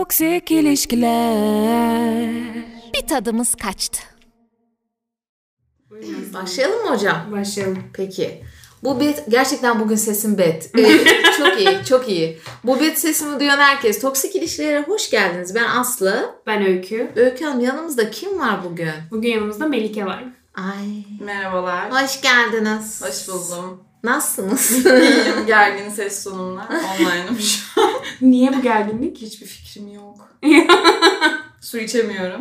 Toksik ilişkiler. Bir tadımız kaçtı. Başlayalım mı hocam? Başlayalım. Peki. Bu bet gerçekten bugün sesim bet. Ee, çok iyi, çok iyi. Bu bet sesimi duyan herkes. Toksik ilişkilere hoş geldiniz. Ben Aslı. Ben Öykü. Öykü Hanım yanımızda kim var bugün? Bugün yanımızda Melike var. Ay. Merhabalar. Hoş geldiniz. Hoş buldum. Nasılsınız? İyiyim gergin ses tonumla. Online'ım şu an. Niye bu gerginlik? Hiçbir fikrim yok. Su içemiyorum.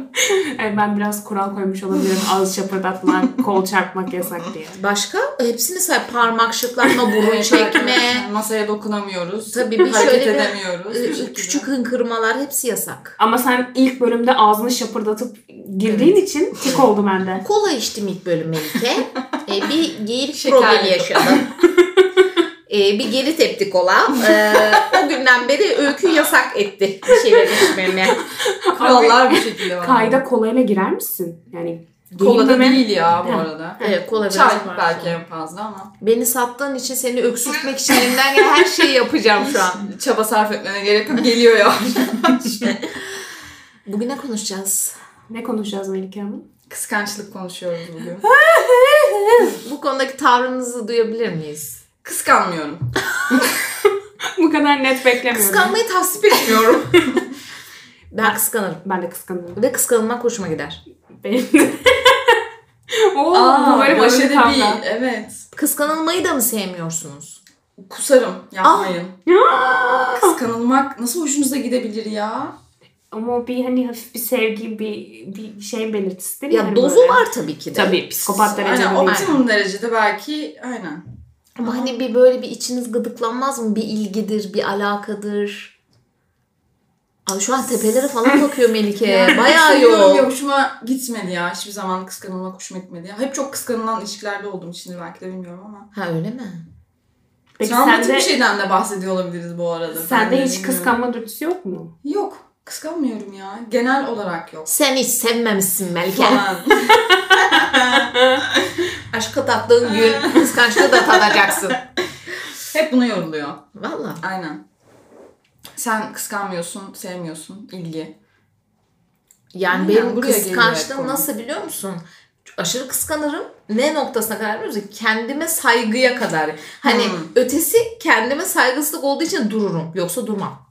Yani ben biraz kural koymuş olabilirim. Ağız şapırdatmak, kol çarpmak yasak diye. Başka? Hepsini say. Parmak şıklatma, Ee, burun çekme. Masaya dokunamıyoruz. Tabii bir Hareket şöyle bir- edemiyoruz. e, Şekilde. Küçük hınkırmalar hepsi yasak. Ama sen ilk bölümde ağzını şapırdatıp girdiğin için tik oldu bende. Kola içtim ilk bölüm Melike. Ee, bir geyirik Şeker problemi yok. yaşadım. Ee, bir geri tepti kola. Ee, o günden beri öykü yasak etti bir şeyler içmeme. Kurallar bu şekilde var. Kayda kolayla girer misin? Yani Kola da girdi mi? değil ya bu arada. Evet, kola biraz Çay var. belki en fazla ama. Beni sattığın için seni öksürtmek için elimden gelen her şeyi yapacağım şu an. Çaba sarf etmene gerek yok. Geliyor ya. Bugün ne konuşacağız? Ne konuşacağız Melike Hanım? Kıskançlık konuşuyoruz bugün. Bu konudaki tavrınızı duyabilir miyiz? Kıskanmıyorum. bu kadar net beklemiyorum. Kıskanmayı tasvip etmiyorum. ben kıskanırım. Ben de kıskanırım. Ve kıskanılmak hoşuma gider. Benim de. Oo, bu böyle baş başı edebi- kavga. Evet. Kıskanılmayı da mı sevmiyorsunuz? Kusarım. Yapmayın. Ya! Kıskanılmak nasıl hoşunuza gidebilir ya? Ama o bir hani hafif bir sevgi, bir, bir şey belirtisi değil mi? Ya Hani dozu böyle? var tabii ki de. Tabii psikopat derecede Aynen, değil. optimum derecede belki aynen. Ama hani bir böyle bir içiniz gıdıklanmaz mı? Bir ilgidir, bir alakadır. Ay şu an tepelere falan bakıyor Ee, Melike. Bayağı Seviyorum ya yok. şey hoşuma gitmedi ya. Hiçbir zaman kıskanılmak hoşuma gitmedi. Hep çok kıskanılan ilişkilerde olduğum için belki de bilmiyorum ama. Ha öyle mi? Peki Travmatik sende, bir şeyden de bahsediyor olabiliriz bu arada. sende Ben de hiç bilmiyorum. kıskanma dürtüsü yok mu? Yok. Kıskanmıyorum ya. Genel olarak yok. Sen hiç sevmemişsin Melike. Falan. Aşka tattığın gün kıskançlığı da tadacaksın. Hep buna yoruluyor. Valla. Aynen. Sen kıskanmıyorsun, sevmiyorsun ilgi. Yani Aynen, benim buraya geliyor kıskançlığım konu. nasıl biliyor musun? Aşırı kıskanırım. Ne noktasına kadar biliyor musun? Kendime saygıya kadar. Hani Hmm. ötesi kendime saygısızlık olduğu için dururum. Yoksa durmam.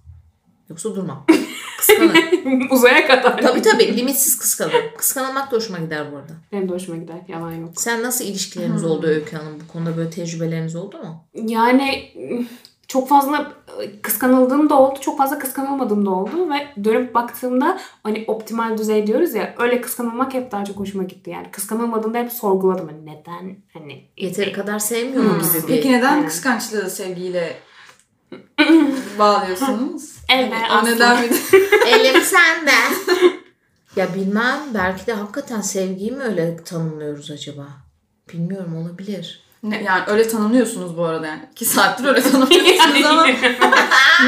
Yoksa durmam. Kıskanırım. Uzaya kadar. Tabii tabii limitsiz kıskanırım. Kıskanılmak da hoşuma gider bu arada. Benim de hoşuma gider. Yalan yok. Sen nasıl ilişkileriniz oldu Öykü Hanım? Bu konuda böyle tecrübeleriniz oldu mu? Yani çok fazla ıı, kıskanıldığım da oldu. Çok fazla kıskanılmadığım da oldu. Ve dönüp baktığımda hani optimal düzey diyoruz ya. Öyle kıskanılmak hep daha çok hoşuma gitti. Yani kıskanılmadığımda hep sorguladım. Hani neden? Hani Yeteri kadar sevmiyorum gibi bir... hmm. Peki neden Aynen. kıskançlığı sevgiyle bağlıyorsunuz? Hani Evet, o aslında. neden bir Elim sende. ya bilmem belki de hakikaten sevgiyi mi öyle tanımlıyoruz acaba? Bilmiyorum olabilir. Ne- yani öyle tanımlıyorsunuz bu arada yani. İki saattir öyle tanımlıyorsunuz ama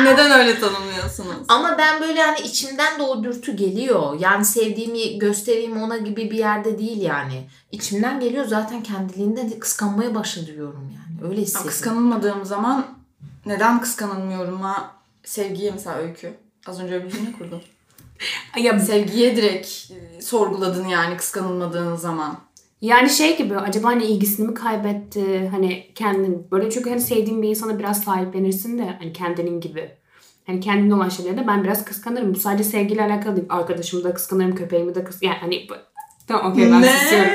neden öyle tanımlıyorsunuz? Ama ben böyle hani içimden de o dürtü geliyor. Yani sevdiğimi göstereyim ona gibi bir yerde değil yani. İçimden geliyor zaten kendiliğinden de kıskanmaya başlıyorum yani. Öyle Ama hissediyorum. Kıskanılmadığım zaman neden kıskanılmıyorum'a sevgiye mesela öykü. Az önce bir cümle kurdum. ya Sevgiye direkt e, sorguladın yani kıskanılmadığın zaman. Yani şey gibi acaba hani ilgisini mi kaybetti hani kendin böyle çünkü hani sevdiğin bir insana biraz sahiplenirsin de hani kendinin gibi. Hani kendine olan şeyleri de ben biraz kıskanırım. Bu sadece sevgiyle alakalı değil. Arkadaşımı da kıskanırım, köpeğimi de kıskanırım. Yani hani bu- Tamam okey ben Ne? susuyorum.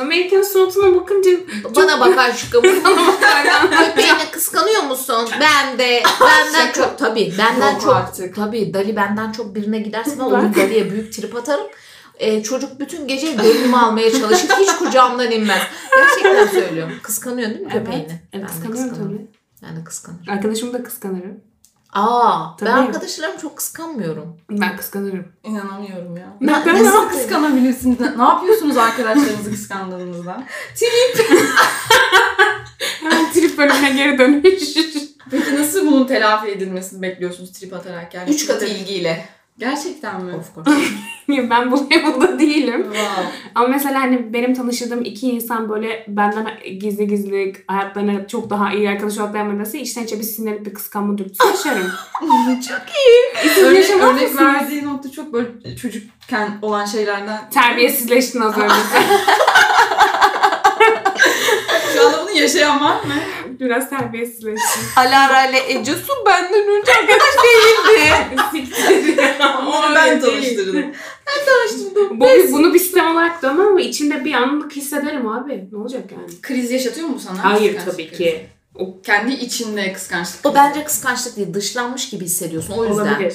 Amerikan suratına bakınca Bana bakar şıkkım. bana bakarlar. Beni kıskanıyor musun? Ben de. Benden çok. Tabii benden Yok çok. artık. Tabii Dali benden çok birine giderse ben onun Dali'ye büyük trip atarım. Ee, çocuk bütün gece gönlümü almaya çalışır. Hiç kucağımdan inmez. Gerçekten söylüyorum. Kıskanıyor değil mi köpeğini? Evet, Ben de evet kıskanırım kıskanırım. tabii. Ben de kıskanırım. Arkadaşımı da kıskanırım. Aa, ben Tabii. arkadaşlarımı çok kıskanmıyorum. Ben kıskanırım. İnanamıyorum ya. Ne Ben- kadar- Nasıl kıskanabilirsiniz? Ne yapıyorsunuz arkadaşlarınızı kıskandığınızda? Hemen trip bölümüne geri dönüş. Peki nasıl bunun telafi edilmesini bekliyorsunuz trip atarak yani? Üç katı ilgiyle. Gerçekten mi? Of course. ben bu level'da değilim. Wow. Ama mesela hani benim tanıştığım iki insan böyle benden gizli gizli hayatlarına çok daha iyi arkadaş olarak davranması içten içe bir sinirlenip bir kıskanma dürtüsü yaşarım. Çok Örnek, yaşamaz örnek mısınız? verdiği nokta çok böyle çocukken olan şeylerden. Terbiyesizleştin az önce. Şu anda bunu yaşayan var mı? Biraz terbiyesizleştin. Alara ile Ecesu benden önce arkadaş değildi. Onu ben tanıştırdım. Bu, bunu bir sistem olarak dönmem ama içimde bir anlık hissederim abi. Ne olacak yani? Kriz yaşatıyor mu bu sana? Hayır Kıskançlık tabii krizi. ki. Kendi içinde kıskançlık. o bence kıskançlık değil. Dışlanmış gibi hissediyorsun. O yüzden. Olabilir.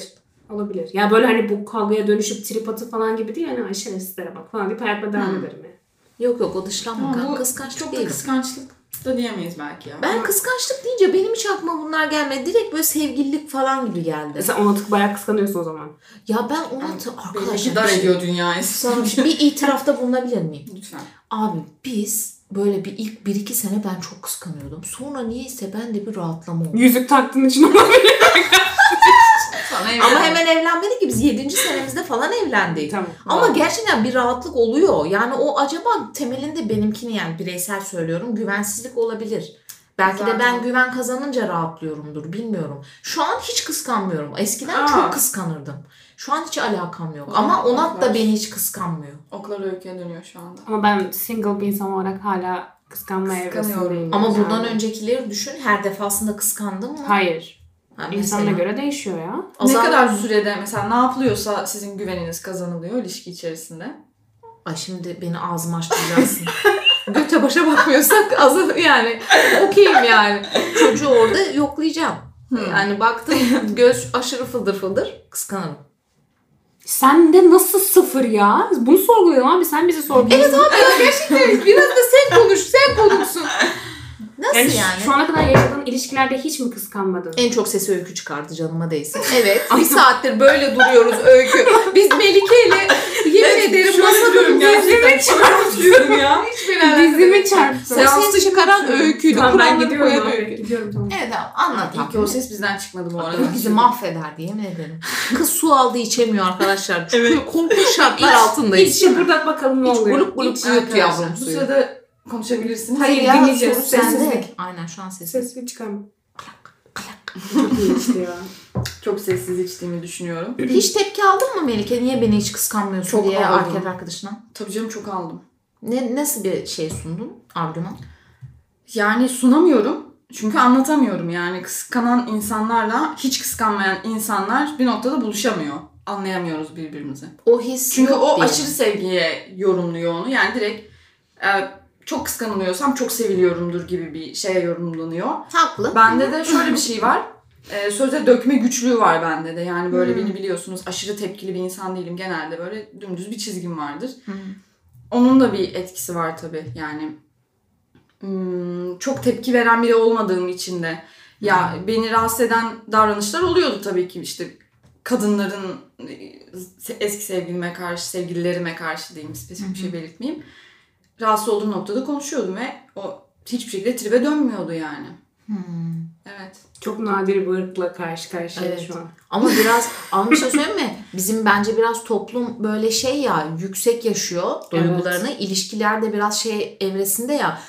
Olabilir. Ya böyle hani bu kavgaya dönüşüp trip atı falan gibi değil. Hani Ayşe sizlere bak falan deyip hayatta devam Hmm. ederim. yani. Yok yok o dışlanmak. Ama bu kıskançlık Çok değil. da kıskançlık da diyemeyiz belki ya. Ben kıskançlık deyince benim hiç aklıma bunlar gelmedi. Direkt böyle sevgililik falan gibi geldi. Sen ona tık bayağı kıskanıyorsun o zaman. Ya ben ona ta- Belki arkadaşlar dar bir şey- ediyor dünyayı. Sana bir itirafta bulunabilir miyim? Lütfen. Abi biz böyle bir ilk 1-2 sene ben çok kıskanıyordum. Sonra niyeyse ben de bir rahatlama oldu. Yüzük taktığın için olabilir. Sana Ama eyvallah. hemen evlenmedik ki biz 7. senemizde falan evlendik. tamam. Ama gerçekten bir rahatlık oluyor. Yani o acaba temelinde benimkini yani bireysel söylüyorum güvensizlik olabilir. Belki de ben Zaten. güven kazanınca rahatlıyorumdur bilmiyorum. Şu an hiç kıskanmıyorum. Eskiden Aa. çok kıskanırdım. Şu an hiç alakam yok. O zaman Ama Onat da farklı. beni hiç kıskanmıyor. Oklar öyküye dönüyor şu anda. Ama ben single bir insan olarak hala kıskanma Kıskanıyorum. evresindeyim. Ama bundan Yani. öncekileri düşün. Her defasında kıskandım mı? Hayır. Ha, İnsana mesela. göre değişiyor ya. O zaman- Ne kadar sürede mesela ne yapılıyorsa sizin güveniniz kazanılıyor ilişki içerisinde. Ay şimdi beni ağzım açtıracaksın. Göte başa bakmıyorsak azı yani okeyim yani. Çocuğu orada yoklayacağım. Yani baktım göz aşırı fıldır fıldır kıskanırım. Sen de nasıl sıfır ya? Bunu sorgulayalım abi. Sen bizi sorguluyorsun. Abi ya gerçekten biraz da sen konuş sen konuşsun. Nasıl yani? yani, Şu ana kadar yaşadığın ilişkilerde hiç mi kıskanmadın? En çok sesi öykü çıkardı canıma değsin. Evet. bir saattir böyle duruyoruz öykü. Biz Melike ile yemin ederim masada duruyorum gerçekten. Çıkartıyorum ya. hiçbir Dizimi çarptı. Sen- Sesini çıkaran öyküydü, Tamam, ben Kur'an'ları gidiyorum koyan abi, öykü. Gidiyorum tamam. Evet tamam, anlat. İyi ki o ses bizden çıkmadı bu arada. Bizi mahveder diye yemin ederim. Kız su aldı içemiyor arkadaşlar. Çünkü Evet. korkunç şartlar altındayız. İçi burada bakalım ne İç oluyor. buluk buluk yut yavrum Bu suyu. sırada konuşabilirsiniz. Hayır ya dinleyeceğiz, soru sessizlik. sende. Aynen şu an sessiz. Sesini çıkarma. Çok iyi işte ya. Çok sessiz içtiğimi düşünüyorum. Hiç tepki aldın mı Melike? Niye beni hiç kıskanmıyorsun Çok diye aldım. erkek arkadaşına? Tabii canım çok aldım. Ne, nasıl bir şey sundun? Argüman. Yani sunamıyorum. Çünkü anlatamıyorum yani kıskanan insanlarla hiç kıskanmayan insanlar bir noktada buluşamıyor. Anlayamıyoruz birbirimizi. O his Çünkü yok o diye. aşırı sevgiye yorumluyor onu. Yani direkt e, çok kıskanılıyorsam çok seviliyorumdur gibi bir şeye yorumlanıyor. Haklı. Bende de şöyle bir şey var. E, söze dökme güçlüğü var bende de. Yani böyle Hmm. beni biliyorsunuz aşırı tepkili bir insan değilim. Genelde böyle dümdüz bir çizgim vardır. Hmm. Onun da bir etkisi var tabii. Yani hmm, çok tepki veren biri olmadığım için de ya beni rahatsız eden davranışlar oluyordu tabii ki işte kadınların e, eski sevgilime karşı, sevgililerime karşı diyeyim spesifik bir şey belirtmeyeyim. Rahatsız olduğum noktada konuşuyordum ve o hiçbir şekilde tribe dönmüyordu yani. Hmm. Evet. Çok nadir bir ırkla karşı karşıya Evet. şu an. Ama biraz ama bir şey söyleyeyim mi? Bizim bence biraz toplum böyle şey ya yüksek yaşıyor duygularını. İlişkilerde biraz şey evresinde ya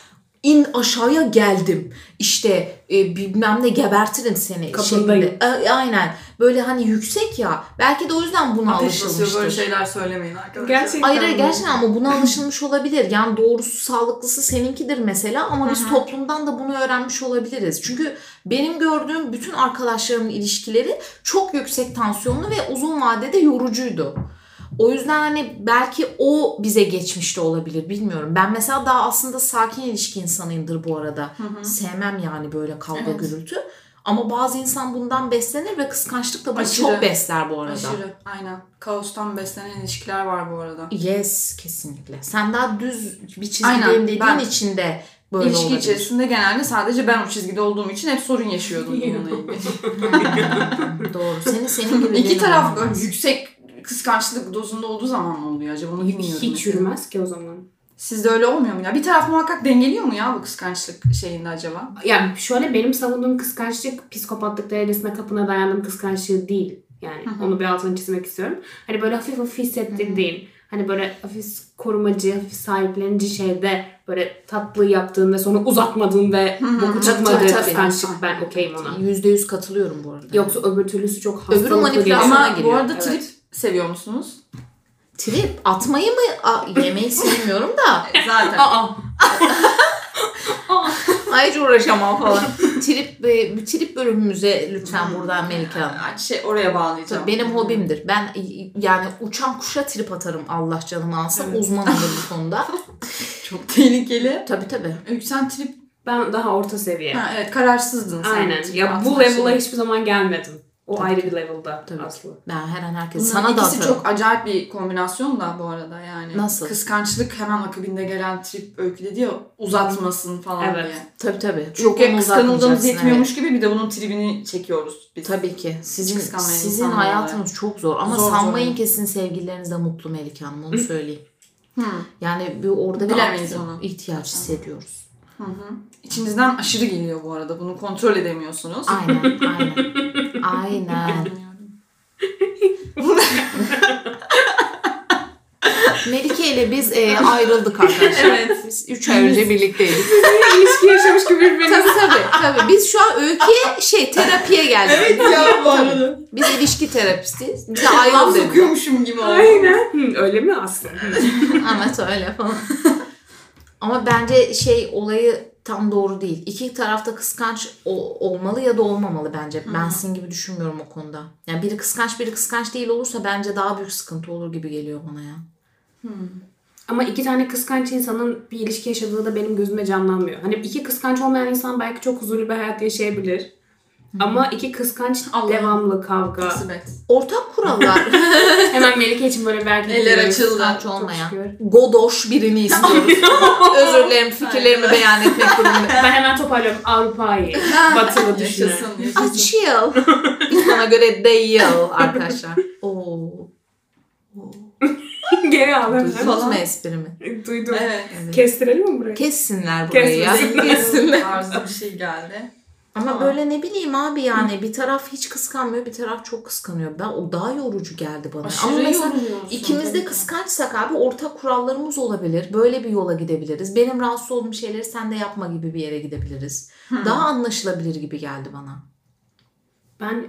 in aşağıya geldim. İşte e, bilmem ne gebertirim seni. Kapındayım. şeklinde. A- aynen. Böyle hani yüksek ya. Belki de o yüzden buna Ateş basıyor böyle alışılmıştır. şeyler söylemeyin arkadaşlar. Gerçekten. Hayır hayır, gerçekten ama buna alışılmış olabilir. Yani doğrusu sağlıklısı seninkidir mesela ama biz toplumdan da bunu öğrenmiş olabiliriz. Çünkü benim gördüğüm bütün arkadaşlarımın ilişkileri çok yüksek tansiyonlu ve uzun vadede yorucuydu. O yüzden hani belki o bize geçmiş de olabilir bilmiyorum. Ben mesela daha aslında sakin ilişki insanıyımdır bu arada. Sevmem yani böyle kavga Evet. gürültü. Ama bazı insan bundan beslenir ve kıskançlık da bunu Aşırı. çok besler bu arada. Aşırı. Aynen. Kaostan beslenen ilişkiler var bu arada. Yes kesinlikle. Sen daha düz bir Aynen, çizgideyim dediğin ben- için de böyle İlişki olabilir. içerisinde genelde sadece ben o çizgide olduğum için hep sorun yaşıyordum bununla ilgili. Hmm, Doğru. Senin senin gibi. İki benim taraf olmaz. yüksek kıskançlık dozunda olduğu zaman ne oluyor acaba onu bilmiyorum. Hiç yürümez ki o zaman. Sizde öyle olmuyor mu ya? Bir taraf muhakkak dengeliyor mu ya bu kıskançlık şeyinde acaba? Yani şöyle benim savunduğum kıskançlık psikopatlık derecesine kapına dayandığım kıskançlığı değil. Yani onu bir altını çizmek istiyorum. Hani böyle hafif hafif hissettirdiğin, hani böyle hafif korumacı, hafif sahiplenici şeyde böyle tatlı yaptığın ve sonra uzatmadığın ve boku Tabii, çıkmadığı tabii. kıskançlık ben okeyim ona. %100 katılıyorum bu arada. Yoksa öbür türlüsü çok hastalıklı manipülasyon- geliyor. Ama Ama bu giriyor, arada evet. trip seviyor musunuz? Trip atmayı mı? A, yemeyi sevmiyorum da. Zaten. Aa, Ay hiç uğraşamam falan. trip, e, trip bölümümüze lütfen buradan Melike Hanım. şey oraya bağlayacağım. Tabii benim hobimdir. Ben y- yani uçan kuşa trip atarım Allah canımı alsın. Evet. Uzman olur bu konuda. çok tehlikeli. tabii tabii. Yüksen trip. ben daha orta seviye. Ha, evet kararsızdın sen. Aynen. Trip Ya bu atma level'a şeyi. hiçbir zaman gelmedim. O Tabii. ayrı bir level'da Tabii. aslında. Ben her an herkes Bunların sana da ikisi atarım. çok acayip bir kombinasyon da bu arada yani. Nasıl? Kıskançlık hemen akabinde gelen trip öykü dedi ya uzatmasın falan Evet. diye. Tabii tabii. Çok onu kıskanıldığımız uzatmayacaksın, yetmiyormuş gibi bir de bunun tribini çekiyoruz evet. biz. Tabii ki. Sizin Hiç kıskanmayan sizin insanlar hayatınız çok zor ama Zor, sanmayın zor. ki sizin sevgilileriniz de mutlu Melike Hanım onu söyleyeyim. Hı. Yani bir orada bir Bilemeyiz aktif- onu. ihtiyaç hissediyoruz. Hı hı. İçinizden aşırı geliyor bu arada. Bunu kontrol edemiyorsunuz. Aynen, aynen. Aynen. Melike ile biz e, ayrıldık arkadaşlar. Evet. Biz 3 ay önce birlikteydik. İlişki yaşamış gibi birbirine. tabii tabii. tabii. Biz şu an öyküye şey terapiye geldik. ya bu arada. Biz ilişki terapistiyiz. Bize ayrıl Ayağım dedi. sokuyormuşum gibi oldu. Aynen. Hı, öyle mi aslında? Ama söyle falan. Ama bence şey olayı tam doğru değil. İki tarafta kıskanç o- olmalı ya da olmamalı bence. Ben sizin gibi düşünmüyorum o konuda. Yani biri kıskanç biri kıskanç değil olursa bence daha büyük sıkıntı olur gibi geliyor bana ya. Ama iki tane kıskanç insanın bir ilişki yaşadığı da benim gözüme canlanmıyor. Hani iki kıskanç olmayan insan belki çok huzurlu bir hayat yaşayabilir. Ama iki kıskanç Allah'ım. devamlı kavga. Kısmet. Ortak kurallar. Hemen Melike için böyle belki Eller açıldı. kıskanç Çok olmayan. şükür. Godoş birini istiyoruz. Özür dilerim fikirlerimi beyan etmek durumunda. Ben hemen toparlıyorum. Avrupa'yı. Batılı düşünen. Yaşasın. yaşasın. Açıl. Bana göre değil arkadaşlar. Oo. Geri al hemen. Duydunuz mu esprimi? Duydum. Evet. Kestirelim mi burayı? Kessinler burayı ya. Kesmesin. Kessinler. Arzu bir şey geldi. Ama Tamam. böyle ne bileyim abi yani bir taraf hiç kıskanmıyor bir taraf çok kıskanıyor. Ben o daha yorucu geldi bana. Aşırı Ama mesela yoruluyorsun. ikimiz de Tabii. kıskançsak abi ortak kurallarımız olabilir. Böyle bir yola gidebiliriz. Benim rahatsız olduğum şeyleri sen de yapma gibi bir yere gidebiliriz. Daha anlaşılabilir gibi geldi bana. Ben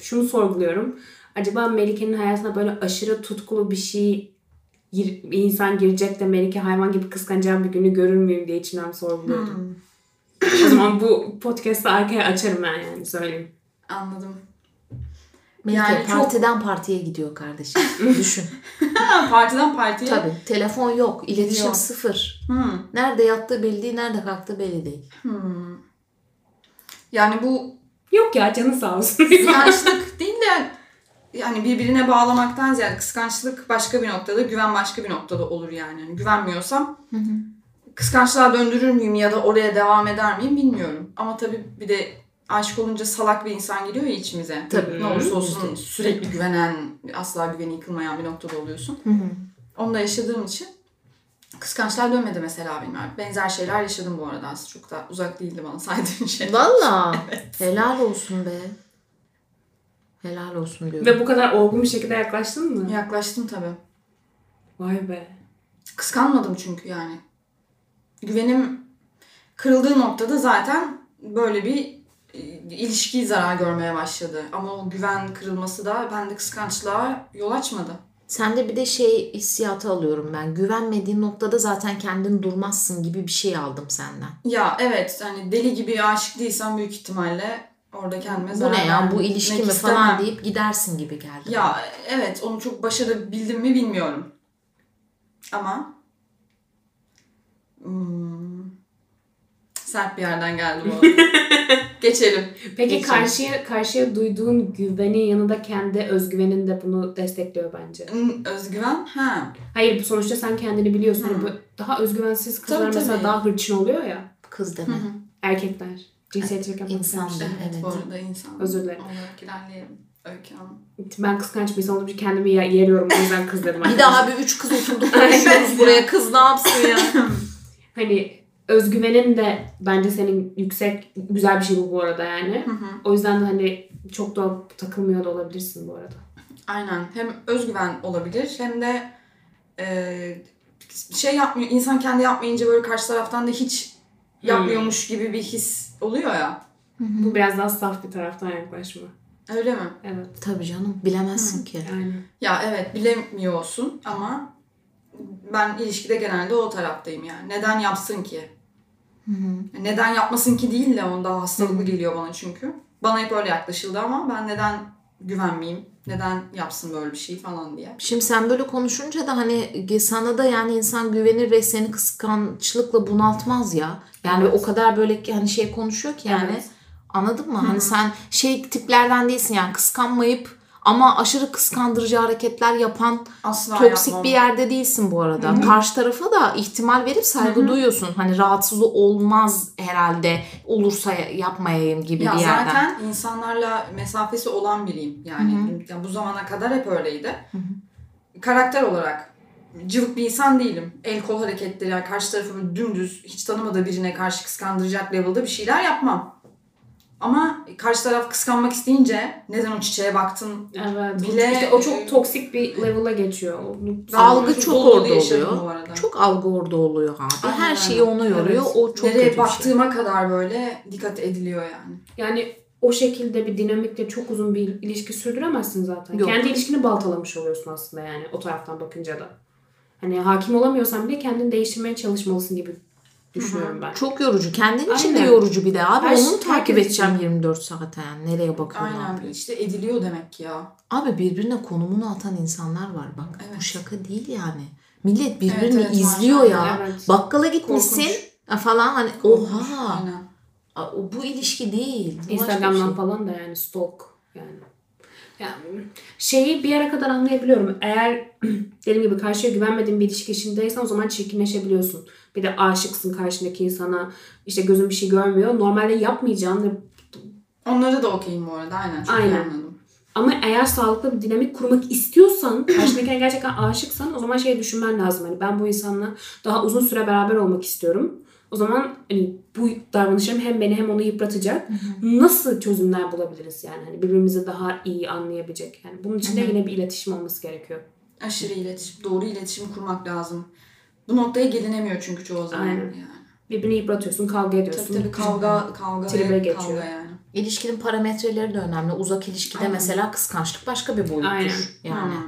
şunu sorguluyorum. Acaba Melike'nin hayatına böyle aşırı tutkulu bir şey gir- bir insan girecek de Melike hayvan gibi kıskanacağım bir günü görür müyüm diye içimden sorguluyordum. Hmm, O zaman bu podcast'ı arkaya açarım ben yani söyleyeyim. Anladım. Melike Yani çok- partiden partiye gidiyor kardeşim. Düşün. Ha, partiden partiye. Tabii telefon yok, iletişim Yok. sıfır. Hmm, Nerede yattığı belli değil, nerede kalktığı belli değil. hmm. Yani bu Yok ya canı sağ olsun. kıskançlık değil de yani birbirine bağlamaktan ziyade kıskançlık başka bir noktada, güven başka bir noktada olur yani. Yani güvenmiyorsam kıskançlığa döndürür müyüm ya da oraya devam eder miyim bilmiyorum. Ama tabii bir de aşık olunca salak bir insan geliyor ya içimize. Tabii. Ne olursa olsun sürekli güvenen, asla güveni yıkılmayan bir noktada oluyorsun. Hı hı. Onu da yaşadığım için kıskançlığa dönmedi mesela benim. Yani Benzer şeyler yaşadım bu arada aslında. Çok da uzak değildi bana saydığın şey. Valla. Helal olsun be. Helal olsun diyorum. Ve bu kadar olgun bir şekilde yaklaştın mı? Yaklaştım tabii. Vay be. Kıskanmadım çünkü yani. Güvenim kırıldığı noktada zaten böyle bir e, ilişki zarar görmeye başladı. Ama o güven kırılması da bende kıskançlığa yol açmadı. Sende bir de şey hissiyatı alıyorum ben. Güvenmediğin noktada zaten kendin durmazsın gibi bir şey aldım senden. Ya evet hani deli gibi aşık değilsem büyük ihtimalle orada kendime bu zarar ne ya bu vermek ilişki mi istemem. falan deyip gidersin gibi geldi. bana. Ya evet onu çok başarabildim mi bilmiyorum. Ama hmm, sert bir yerden geldi bu. arada. Geçelim. Peki Geçelim. karşıya karşıya duyduğun güvenin yanında kendi özgüvenin de bunu destekliyor bence. Hmm, Özgüven. Ha. Hayır bu sonuçta sen kendini biliyorsun. Hani bu daha özgüvensiz kızlar Hmm. Tabii, mesela tabii. daha hırçın oluyor ya. Kız deme. Erkekler. Cinsiyetçilik yapmak İnsan istemiş. da. Evet, Evet. bu arada insan. Özür dilerim. Olarak ilerleyelim. Öykü Hanım. Ben kıskanç bir insan olduğum için kendimi ye- yeriyorum. O yüzden kız dedim. Bir de abi üç kız oturduk Evet ya. konuşuyoruz buraya kız ne yapsın ya. Hani özgüvenin de bence senin yüksek güzel bir şey bu bu arada yani. Hı hı. O yüzden de hani Çok da takılmıyor da olabilirsin bu arada. Aynen. Hem özgüven olabilir hem de e, şey yapmıyor. insan kendi yapmayınca böyle karşı taraftan da hiç yapmıyormuş Hmm. gibi bir his oluyor ya. Bu biraz daha saf bir taraftan yaklaşma. Öyle mi? Evet. Tabii canım bilemezsin ki. Yani. Ya evet bilemiyorsun ama ben ilişkide genelde o taraftayım yani. Neden yapsın ki? Neden yapmasın ki değil de onda hastalıklı geliyor bana çünkü. Bana hep öyle yaklaşıldı ama ben neden güvenmeyeyim? Neden yapsın böyle bir şey falan diye. Şimdi sen böyle konuşunca da hani sana da yani insan güvenir ve seni kıskançlıkla bunaltmaz ya. Yani Evet. o kadar böyle yani şey konuşuyor ki yani. Evet. Anladın mı? Hani sen şey tiplerden değilsin yani kıskanmayıp ama aşırı kıskandırıcı hareketler yapan Asla toksik yapmam. bir yerde değilsin bu arada. Karşı tarafa da ihtimal verip saygı duyuyorsun. Hani rahatsız olmaz herhalde olursa yapmayayım gibi Ya bir yerden. zaten insanlarla mesafesi olan biriyim yani. Ya bu zamana kadar hep öyleydi. Karakter olarak cıvık bir insan değilim. El kol hareketleri, yani karşı tarafı böyle dümdüz hiç tanımadığı birine karşı kıskandıracak level'da bir şeyler yapmam. Ama karşı taraf kıskanmak isteyince neden o çiçeğe baktın? Evet. Bile- işte o çok toksik bir level'a geçiyor. Onu- Ben Algı bunu çok dolu dolu orada yaşadım oluyor. bu arada. Çok algı orada oluyor abi. Aynen Her öyle. şeyi ona yoruyor. Evet. O çok kötü Nereye bir şey. baktığıma kadar böyle dikkat ediliyor yani. Yani o şekilde bir dinamikle çok uzun bir ilişki sürdüremezsin zaten. Yok. Kendi ilişkini baltalamış oluyorsun aslında yani o taraftan bakınca da. Hani hakim olamıyorsan bile kendini değiştirmeye çalışmalısın gibi düşünüyorum ben. Çok yorucu. Kendin için de Aynen. yorucu bir de abi. Her Onu şey- mu takip herkes edeceğim 24 saate yani. Nereye bakıyorum ne Aynen yapıyorum? işte ediliyor demek ki ya. Abi birbirine konumunu atan insanlar var bak. Bu Evet. şaka değil yani. Millet birbirini Evet, evet, izliyor ya. maşallah, evet. Bakkala gitmişsin Korkunç. ha falan hani oha. Aynen. A, o- Bu ilişki değil. Bu başka Instagram'dan bir şey. falan da yani stalk yani. Yani şeyi bir yere kadar anlayabiliyorum. Eğer dediğim gibi karşıya güvenmediğin bir ilişki içindeysen o zaman çirkinleşebiliyorsun. Bir de aşıksın karşındaki insana. işte gözün bir şey görmüyor. Normalde yapmayacağın ve Onları da okeyim bu arada aynen. Çok iyi Aynen. anladım. Ama eğer sağlıklı bir dinamik kurmak istiyorsan, karşındakine gerçekten aşıksan o zaman şey düşünmen lazım. Hani ben bu insanla daha uzun süre beraber olmak istiyorum. O zaman hani bu davranışlarım hem beni hem onu yıpratacak. Nasıl çözümler bulabiliriz yani? Hani birbirimizi daha iyi anlayabilecek. Yani bunun için de yine bir iletişim olması gerekiyor. aşırı iletişim, doğru iletişim kurmak lazım. Bu noktaya gelinemiyor çünkü çoğu zaman. Aynen. Yani. Birbirini yıpratıyorsun, kavga ediyorsun. Tabii tabii kavga kavga Tribe ve geçiyor. kavga yani. İlişkinin parametreleri de önemli. Uzak ilişkide Aynen. mesela kıskançlık başka bir boyuttur. Aynen. Yani. Hı.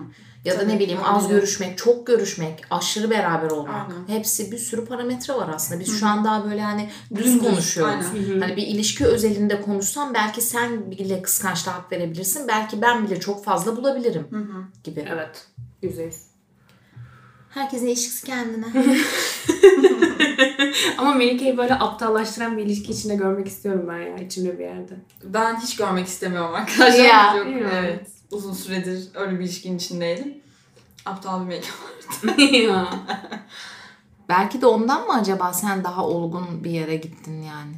Ya da Tabii, ne bileyim az aynen. görüşmek, çok görüşmek, aşırı beraber olmak. Aynen. Hepsi bir sürü parametre var aslında. Biz şu an daha böyle hani düz Dümdüz, konuşuyoruz. aynen. Hani bir ilişki özelinde konuşsam belki sen bile kıskançlığa hak verebilirsin. Belki ben bile çok fazla bulabilirim gibi. Evet. Yüzde yüz. Herkesin ilişkisi kendine. Ama Melike'yi böyle aptallaştıran bir ilişki içinde görmek istiyorum ben ya. içimde bir yerde. Ben hiç görmek istemiyorum arkadaşlar. Ya. Yok, Ya. evet. Uzun süredir öyle bir ilişkinin içindeydim. Aptal bir mekan. ya. belki de ondan mı acaba sen daha olgun bir yere gittin yani?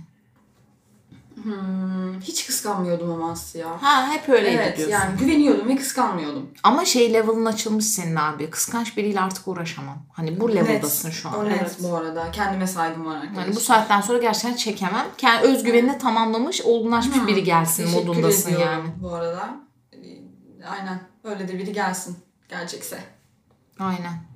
Hmm, hiç kıskanmıyordum ama Aslı ya. Ha hep öyleydi Evet diyorsun. yani güveniyordum ve kıskanmıyordum. Ama şey level'ın açılmış senin abi. Kıskanç biriyle artık uğraşamam. Hani bu level'dasın şu an. O net Evet. bu arada. Kendime saygım var arkadaşlar. Yani Hani bu saatten sonra gerçekten çekemem. Kendi özgüvenini tamamlamış, olgunlaşmış biri gelsin Teşekkür modundasın ediyorum yani. Bu arada. Ee, Aynen. Öyle de biri gelsin. Gelecekse. Aynen.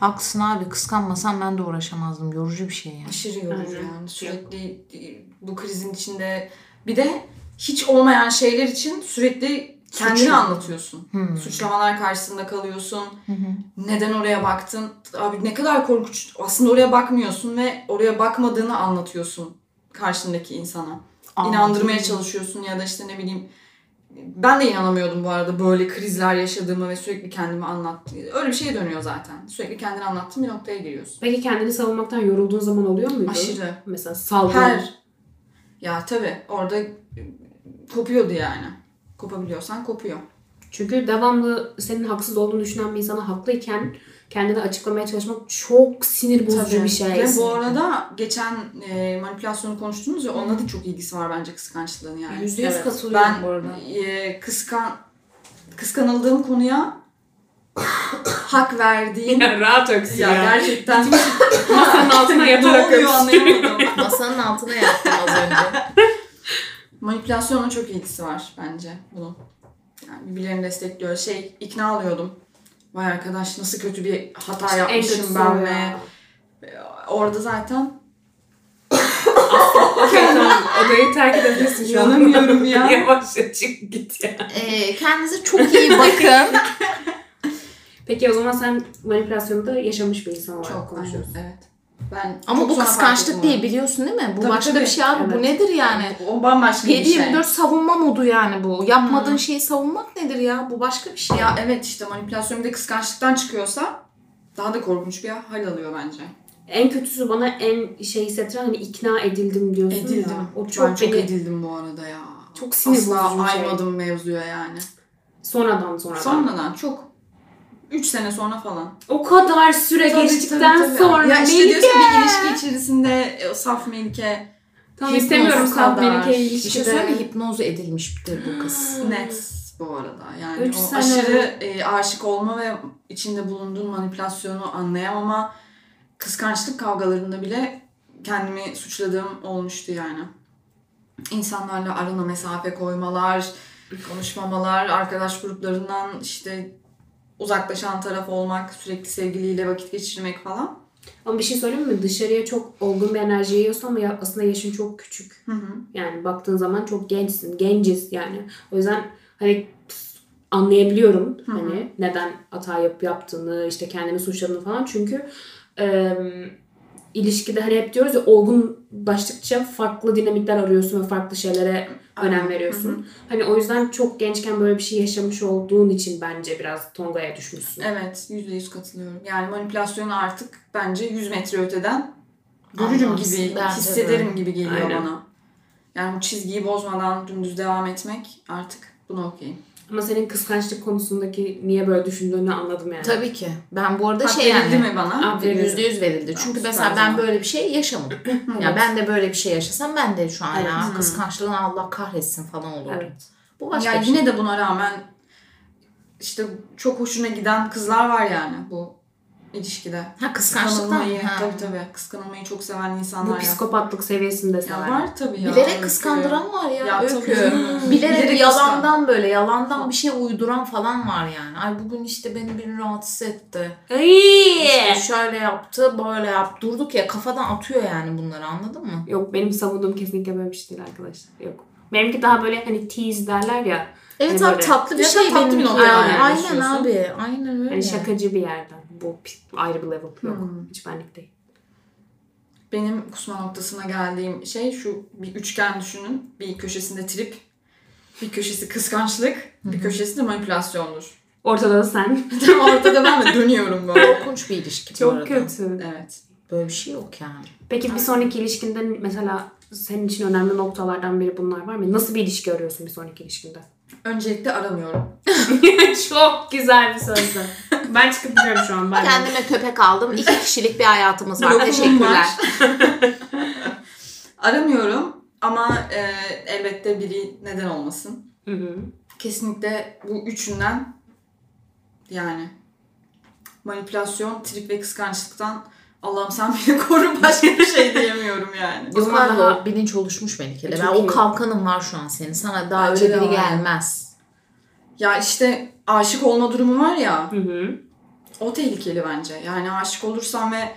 Haklısın abi. Kıskanmasam ben de uğraşamazdım. Yorucu bir şey yani. Aşırı yorucu Aynen. yani. Sürekli e, bu krizin içinde bir de hiç olmayan şeyler için sürekli kendini Suçlu. anlatıyorsun. Suçlamalar karşısında kalıyorsun. Neden oraya baktın? Abi ne kadar korkunç. Aslında oraya bakmıyorsun ve oraya bakmadığını anlatıyorsun karşındaki insana. Aa. İnandırmaya çalışıyorsun ya da işte ne bileyim ben de inanamıyordum bu arada böyle krizler yaşadığımı ve sürekli kendimi anlattığım. Öyle bir şey dönüyor zaten. Sürekli kendini anlattığın bir noktaya giriyorsun. Peki kendini savunmaktan yorulduğun zaman oluyor muydu? Aşırı. Mesela saldırı. Her ya tabii orada e, kopuyordu yani. Kopabiliyorsan kopuyor. Çünkü devamlı senin haksız olduğunu düşünen bir insana haklıyken kendini açıklamaya çalışmak çok sinir bozucu bir şey. Ve bu arada geçen e, manipülasyonu konuştunuz ya onunla da çok ilgisi var bence kıskançlığın yani. Yüzde yüz katılıyorum ben, bu arada. kıskan kıskanıldığım konuya hak verdiğim ya, Ya rahat öksür ya. gerçekten Masanın altına ne yatarak oluyor öksür. anlayamadım. Masanın altına yattım az önce. Manipülasyonla çok ilgisi var bence bunun. Yani birbirlerini destekliyor. Şey ikna alıyordum. Vay arkadaş nasıl kötü bir hata İşte en yapmışım kötüsü o ben ve ya. orada zaten Odayı terk edebilirsin şu an. Yanamıyorum ya. Yavaşça çık git ya. Ee, kendinize çok iyi bakın. Peki o zaman sen manipülasyonu da yaşamış bir insan olarak çok konuşuyorsun. aynen, Evet. Ben Ama çok bu sonra fark kıskançlık ettim değil biliyorsun değil mi? Bu Tabii, başka tabii. bir şey abi. Bu Evet. nedir yani? bunu. O bambaşka bir şey. 7-24 savunma modu yani bu. Yapmadığın şeyi savunmak nedir ya? Bu başka bir şey. Ya evet işte manipülasyon bir de kıskançlıktan çıkıyorsa daha da korkunç bir hal alıyor bence. En kötüsü bana en şey hissettiren hani ikna edildim diyorsun ya. O çok, ben çok beni edildim bu arada ya. Çok sinir Asla bozucu şey. aymadım mevzuya yani. sonradan sonradan. Sonradan çok. 3 sene sonra falan. O kadar süre Tabii, geçtikten tabii, tabii. sonra Ya işte neydi? diyorsun bir ilişki içerisinde e, saf Melike Tamam, Hipnoz istemiyorum saf kadar. Melike Bir şey ilişkide. söyleyeyim mi? Hipnoz edilmiştir bu kız. net bu arada. Yani Üç o sene. aşırı e, aşık olma ve içinde bulunduğun manipülasyonu anlayamama kıskançlık kavgalarında bile kendimi suçladığım olmuştu yani. İnsanlarla arana mesafe koymalar, konuşmamalar, arkadaş gruplarından işte uzaklaşan taraf olmak, sürekli sevgiliyle vakit geçirmek falan. Ama bir şey söyleyeyim mi? Dışarıya çok olgun bir enerji yiyorsun ama ya- aslında yaşın çok küçük. Hı hı. Yani baktığın zaman çok gençsin. Genciz yani. O yüzden hani anlayabiliyorum Hı hı. hani neden hata yap, yaptığını, işte kendini suçladığını falan. Çünkü e, ilişkide hani hep diyoruz ya olgunlaştıkça farklı dinamikler arıyorsun ve farklı şeylere önem Aynen. veriyorsun. Hani o yüzden çok gençken böyle bir şey yaşamış olduğun için bence biraz Tonga'ya düşmüşsün. Evet, %100 katılıyorum. Yani manipülasyonu artık bence 100 metre öteden görürüm Anlamsız, gibi, bence de. hissederim gibi geliyor Aynen. bana. Yani bu çizgiyi bozmadan dümdüz devam etmek artık buna okeyim. Ama senin kıskançlık konusundaki niye böyle düşündüğünü anladım yani. Tabii ki. Ben bu arada Hak şey verildi yani. mi bana? Aa, verildi. Yüzde yüz verildi. Çünkü süper mesela ben o zaman. böyle bir şey yaşamadım. ya ben de böyle bir şey yaşasam ben de şu an ya Evet. kıskançlığına Allah kahretsin falan olurdu. Evet. Bu başka ya bir şey. yine de buna rağmen işte çok hoşuna giden kızlar var yani bu ilişkide. Ha kıskançlıktan. Kıskanılmayı, Ha. tabii tabii. Kıskanılmayı çok seven insanlar Bu ya. psikopatlık seviyesinde Ya sever. var tabii ya. Bilerek Öykü. kıskandıran var ya, Ya tabii öykü. canım. Bilerek, Bilerek yalandan böyle yalandan bir şey uyduran falan var yani. Ay bugün işte beni biri rahatsız etti. İşte Ayy! şöyle yaptı, böyle yaptı. Durduk ya kafadan atıyor yani bunları anladın mı? Yok benim savunduğum kesinlikle böyle bir şey değil arkadaşlar. Yok. Benimki daha böyle hani tease derler ya. Evet Hani abi böyle- tatlı bir Ya da şey tatlı bir benimki nokta yani. yani Aynen düşünüyorsun. abi. Aynen öyle. Hmm. Hani şakacı bir yerden. Bu pi- ayrı bir level. Yok. Hiç benlik değil. Benim kusma noktasına geldiğim şey şu bir üçgen düşünün. Bir köşesinde trip, bir köşesi kıskançlık, bir köşesi de manipülasyondur. Ortada da sen. Ortada ben de dönüyorum böyle. Korkunç bir ilişki bu arada. Çok kötü. Evet. Böyle bir şey yok yani. Peki bir sonraki ilişkinde mesela senin için önemli noktalardan biri bunlar var mı? Nasıl bir ilişki arıyorsun bir sonraki ilişkinde? Öncelikle aramıyorum. Çok güzel bir sözdü. Ben çıkıp gidiyorum şu an. Bye bye. Kendime köpek aldım. İki kişilik bir hayatımız var. Lokumum Teşekkürler. Aramıyorum ama e, elbette biri neden olmasın. Hı hı. Kesinlikle bu üçünden yani manipülasyon, trip ve kıskançlıktan Allah'ım sen beni koru başka bir şey diyemiyorum yani. O O zaman zaman daha- o bilinç oluşmuş Melike'de. E, Ben çok o iyi. kalkanım var şu an senin. Sana daha Bence öyle de biri var. gelmez. Ya işte aşık olma durumu var ya. Hı hı. O tehlikeli bence. Yani aşık olursam ve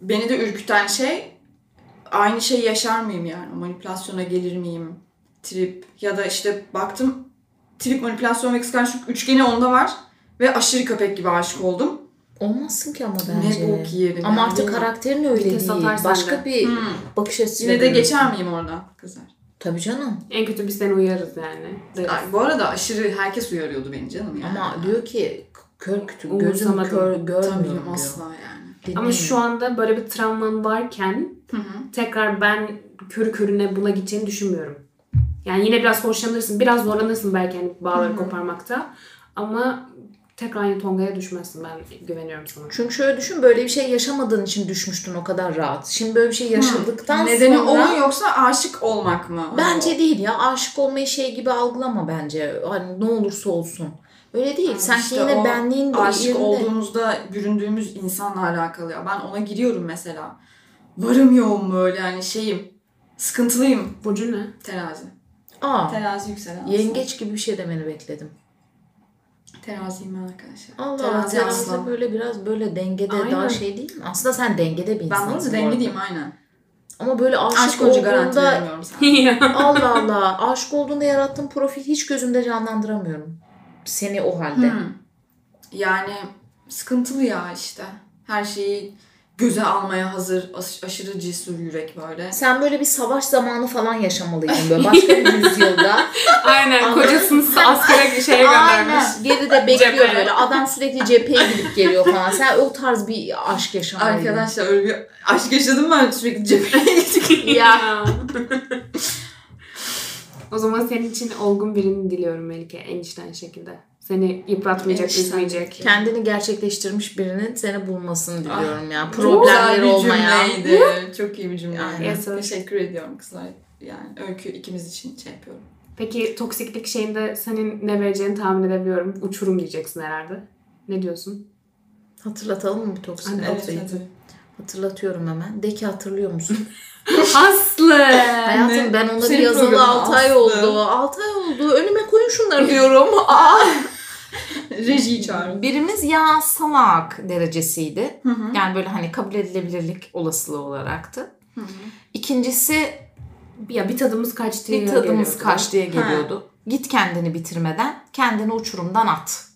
beni de ürküten şey aynı şeyi yaşar mıyım yani? Manipülasyona gelir miyim? Trip ya da işte baktım trip, manipülasyon ve kıskançlık üçgeni onda var ve aşırı köpek gibi aşık oldum. Olmazsın ki ama bence. Ne bok yerim. Ama yani, artık bilmiyorum. karakterin öyle Vites değil. atar Başka sende. bir Hmm. bakış açısıyla. Yine de görüyorum. geçer miyim oradan kızlar? Tabii canım. En kötü biz seni uyarız yani. Deriz. Ay, bu arada aşırı herkes uyarıyordu beni canım yani. Ama diyor ki kör kütük gözüm Umursamadım. kör görmüyorum Tabii diyor. asla yani. Ama Dinlemiyor. şu anda böyle bir travman varken Hı hı. tekrar ben körü körüne buna gideceğini düşünmüyorum. Yani yine biraz hoşlanırsın, biraz zorlanırsın belki hani bağları koparmakta. Ama tekrar yine Tonga'ya düşmezsin ben güveniyorum sana. çünkü şöyle düşün böyle bir şey yaşamadığın için düşmüştün o kadar rahat. Şimdi böyle bir şey yaşadıktan Nedeni sonra o mu yoksa aşık olmak mı? Bence değil ya. Aşık olmayı şey gibi algılama bence. Hani ne olursa olsun. Öyle değil. Yani Sanki işte yine o benliğin aşık yerinde. olduğumuzda büründüğümüz insanla alakalı ya. Ben ona giriyorum mesela. Varım yoğun böyle yani şeyim. Sıkıntılıyım Burcu ne? terazi. Aa, Terazi yükselen. aslan. yengeç gibi bir şey demeni bekledim. Teraziyim ben arkadaşlar. Allah Terazi terazi aslan. böyle biraz böyle dengede Aynen. daha şey değil mi? Aslında sen dengede bir Ben insansın. bunu bu dengi arada. diyeyim aynen. Ama böyle aşık, Aşk ucu garanti olduğunda vermiyorum sana. Allah Allah aşık olduğunda yarattığın profil hiç gözümde canlandıramıyorum. Seni o halde. Hmm. Yani sıkıntılı ya işte. Her şeyi göze almaya hazır, aş- aşırı cesur yürek böyle. Sen böyle bir savaş zamanı falan yaşamalıydın böyle başka bir yüzyılda. Aynen kocasını askere Şey şeye göndermiş. Aynen. Geride bekliyor Cepheye. böyle. Adam sürekli cepheye gidip geliyor falan. Sen o tarz bir aşk yaşamalıydın. Arkadaşlar öyle bir aşk yaşadım ben sürekli cepheye gittik. Ya. o zaman senin için olgun birini diliyorum Melike enişten şekilde. Seni yıpratmayacak, Enişten. üzmeyecek. Kendini gerçekleştirmiş birinin seni bulmasını diliyorum ya. Ah, Çok güzel Problemleri bir olmayan. cümleydi. Çok iyi bir cümle. Aynen. Yes, sir. Teşekkür ediyorum kızlar. Yani öykü ikimiz için şey yapıyorum. Peki toksiklik şeyinde senin ne vereceğini tahmin edebiliyorum. Uçurum diyeceksin herhalde. Ne diyorsun? Hatırlatalım mı bu toksik Anne, noktayı? Hatırlatıyorum hemen. De ki hatırlıyor musun? Aslı! Hayatım ben ona bir senin yazalı programın 6 ay Aslı. oldu. 6 ay oldu. Önüme koyun şunları diyorum. Aa, Rejiyi çağırın. Birimiz ya salak derecesiydi. Hı hı. Yani böyle hani kabul edilebilirlik olasılığı olaraktı. Hı hı. İkincisi Ya bir tadımız kaçtı. bir tadımız geliyordu. kaç diye geliyordu. Git kendini bitirmeden kendini uçurumdan at.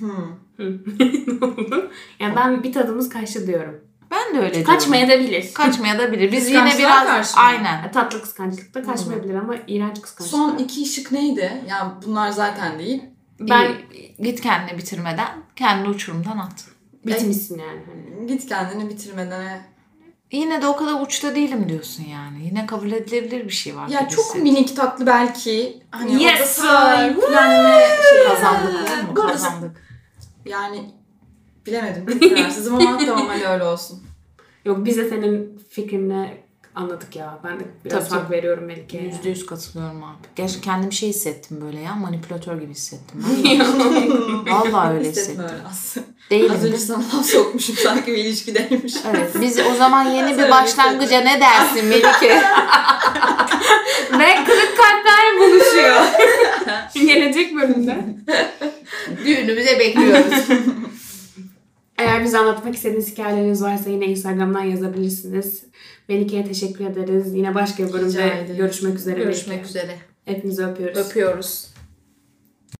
Hı. Yani ben bir tadımız kaçtı diyorum. Ben de öyle diyorum. Kaçmaya da bilir. Kaçmaya da bilir. Biz yine Kıskançlığa biraz karşı mı? aynen. Tatlı kıskançlık da kaçmayabilir ama iğrenç kıskançlık. Son iki şık neydi? Yani bunlar zaten değil. Ben Git kendini bitirmeden kendini uçurumdan at. bitmişsin yani. Hani. Git kendini bitirmeden. Yine de o kadar uçta değilim diyorsun yani. Yine kabul edilebilir bir şey var. Ya gibi çok hissettim. minik tatlı belki. Hani Yes, orada şey sir. sahiplenme şeyi kazandık olur mu? Gol. Kazandık. Yani bilemedim. Çok kararsızım ama tamam hadi öyle olsun. Yok biz de senin fikrini anladık ya. Ben de biraz Tabii, hak veriyorum Melike'ye. Yüzde yüz katılıyorum abi. Gerçi kendim şey hissettim böyle ya. Manipülatör gibi hissettim. Vallahi öyle hissettim. Hissetme öyle aslında. Az Değilim. önce sana laf sokmuşum sanki bir ilişkideymiş. Evet, biz o zaman yeni bir Öyle başlangıca ne dersin Melike? Ve kırık kalpler Şey buluşuyor. Gelecek bölümde. Düğünümüze bekliyoruz. Eğer bize anlatmak istediğiniz hikayeleriniz varsa yine Instagram'dan yazabilirsiniz. Melike'ye teşekkür ederiz. Yine başka bir Rica bölümde ederim. görüşmek üzere. Görüşmek Melike. üzere. Hepinizi öpüyoruz. Öpüyoruz.